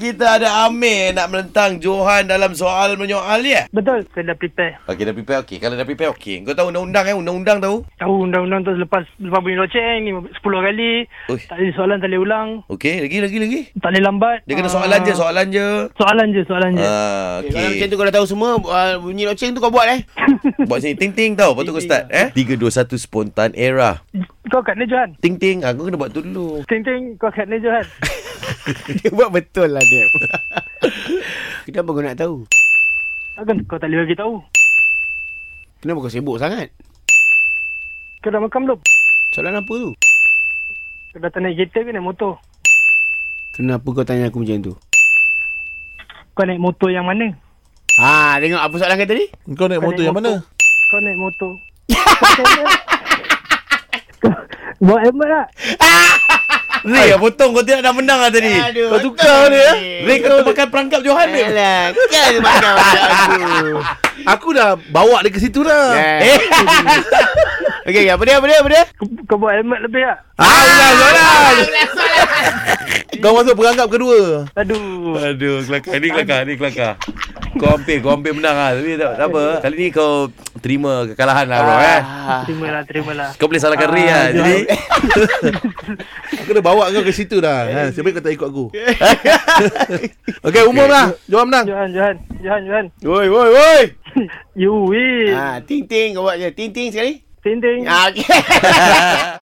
kita ada Amir nak menentang Johan dalam soal menyoal ya? Betul, saya dah prepare. Okey dah prepare okey. Kalau dah prepare okey. Kau tahu undang-undang eh? Undang-undang tahu? Tahu undang-undang tu lepas lepas bunyi loceng eh, ni 10 kali. Ui. Tak ada soalan, tak boleh ulang. Okey, lagi lagi lagi. Tak boleh lambat. Dia kena Ah, soalan je, soalan je. Soalan je, soalan je. Ah, Okay. Kalau macam okey. tu kau dah tahu semua uh, bunyi loceng tu kau buat eh. Buat sini ting-ting tau. Lepas tu kau start eh. 3 2 1 spontan era. Kau kat ni Johan. Ting-ting. Ah, kau kena buat tu dulu. Ting-ting, kau kat ni Johan. dia buat betul lah dia. Kenapa kau nak tahu? Takkan kau tak boleh bagi tahu. Kenapa kau sibuk sangat? Kau dah makan belum? Soalan apa tu? Kau dah tak naik kereta ke naik motor? Kenapa kau tanya aku macam tu? Kau naik motor yang mana? Ha, tengok apa soalan kau tadi? Kau naik Kau motor naik yang mana? Kau naik motor. Kau- Buat hemat tak? Ray yang potong kau tidak dah menang lah tadi. Aduh, kau tukar betul eh? dia. ni. Ray kau pakai perangkap Johan ni. Alah, kau jangan makan macam aku. Aku dah bawa dia ke situ dah. Eh. Okey, okay, apa dia? Apa dia? Apa dia? Kau, kau buat hemat lebih tak? Ah, ulang soalan. Kau masuk perangkap kedua. Aduh. Aduh, kelakar. Ini kelakar, ini kelakar. Kau hampir, kau hampir menang lah. Tapi tak, tak apa. Kali ni kau terima kekalahan lah, Ah. bro. Eh. Terimalah, terimalah. Kau boleh salahkan Ray lah. Jadi, Aku dah bawa kau ke situ dah. Ha, sebab kau tak ikut aku. Okey, umum lah. Jom menang. Johan, Johan, Johan, Johan. Woi, woi, woi. You win. Ah, Ha, ting ting kau buat je. Ting ting sekali. Ting ting. Ha, okey.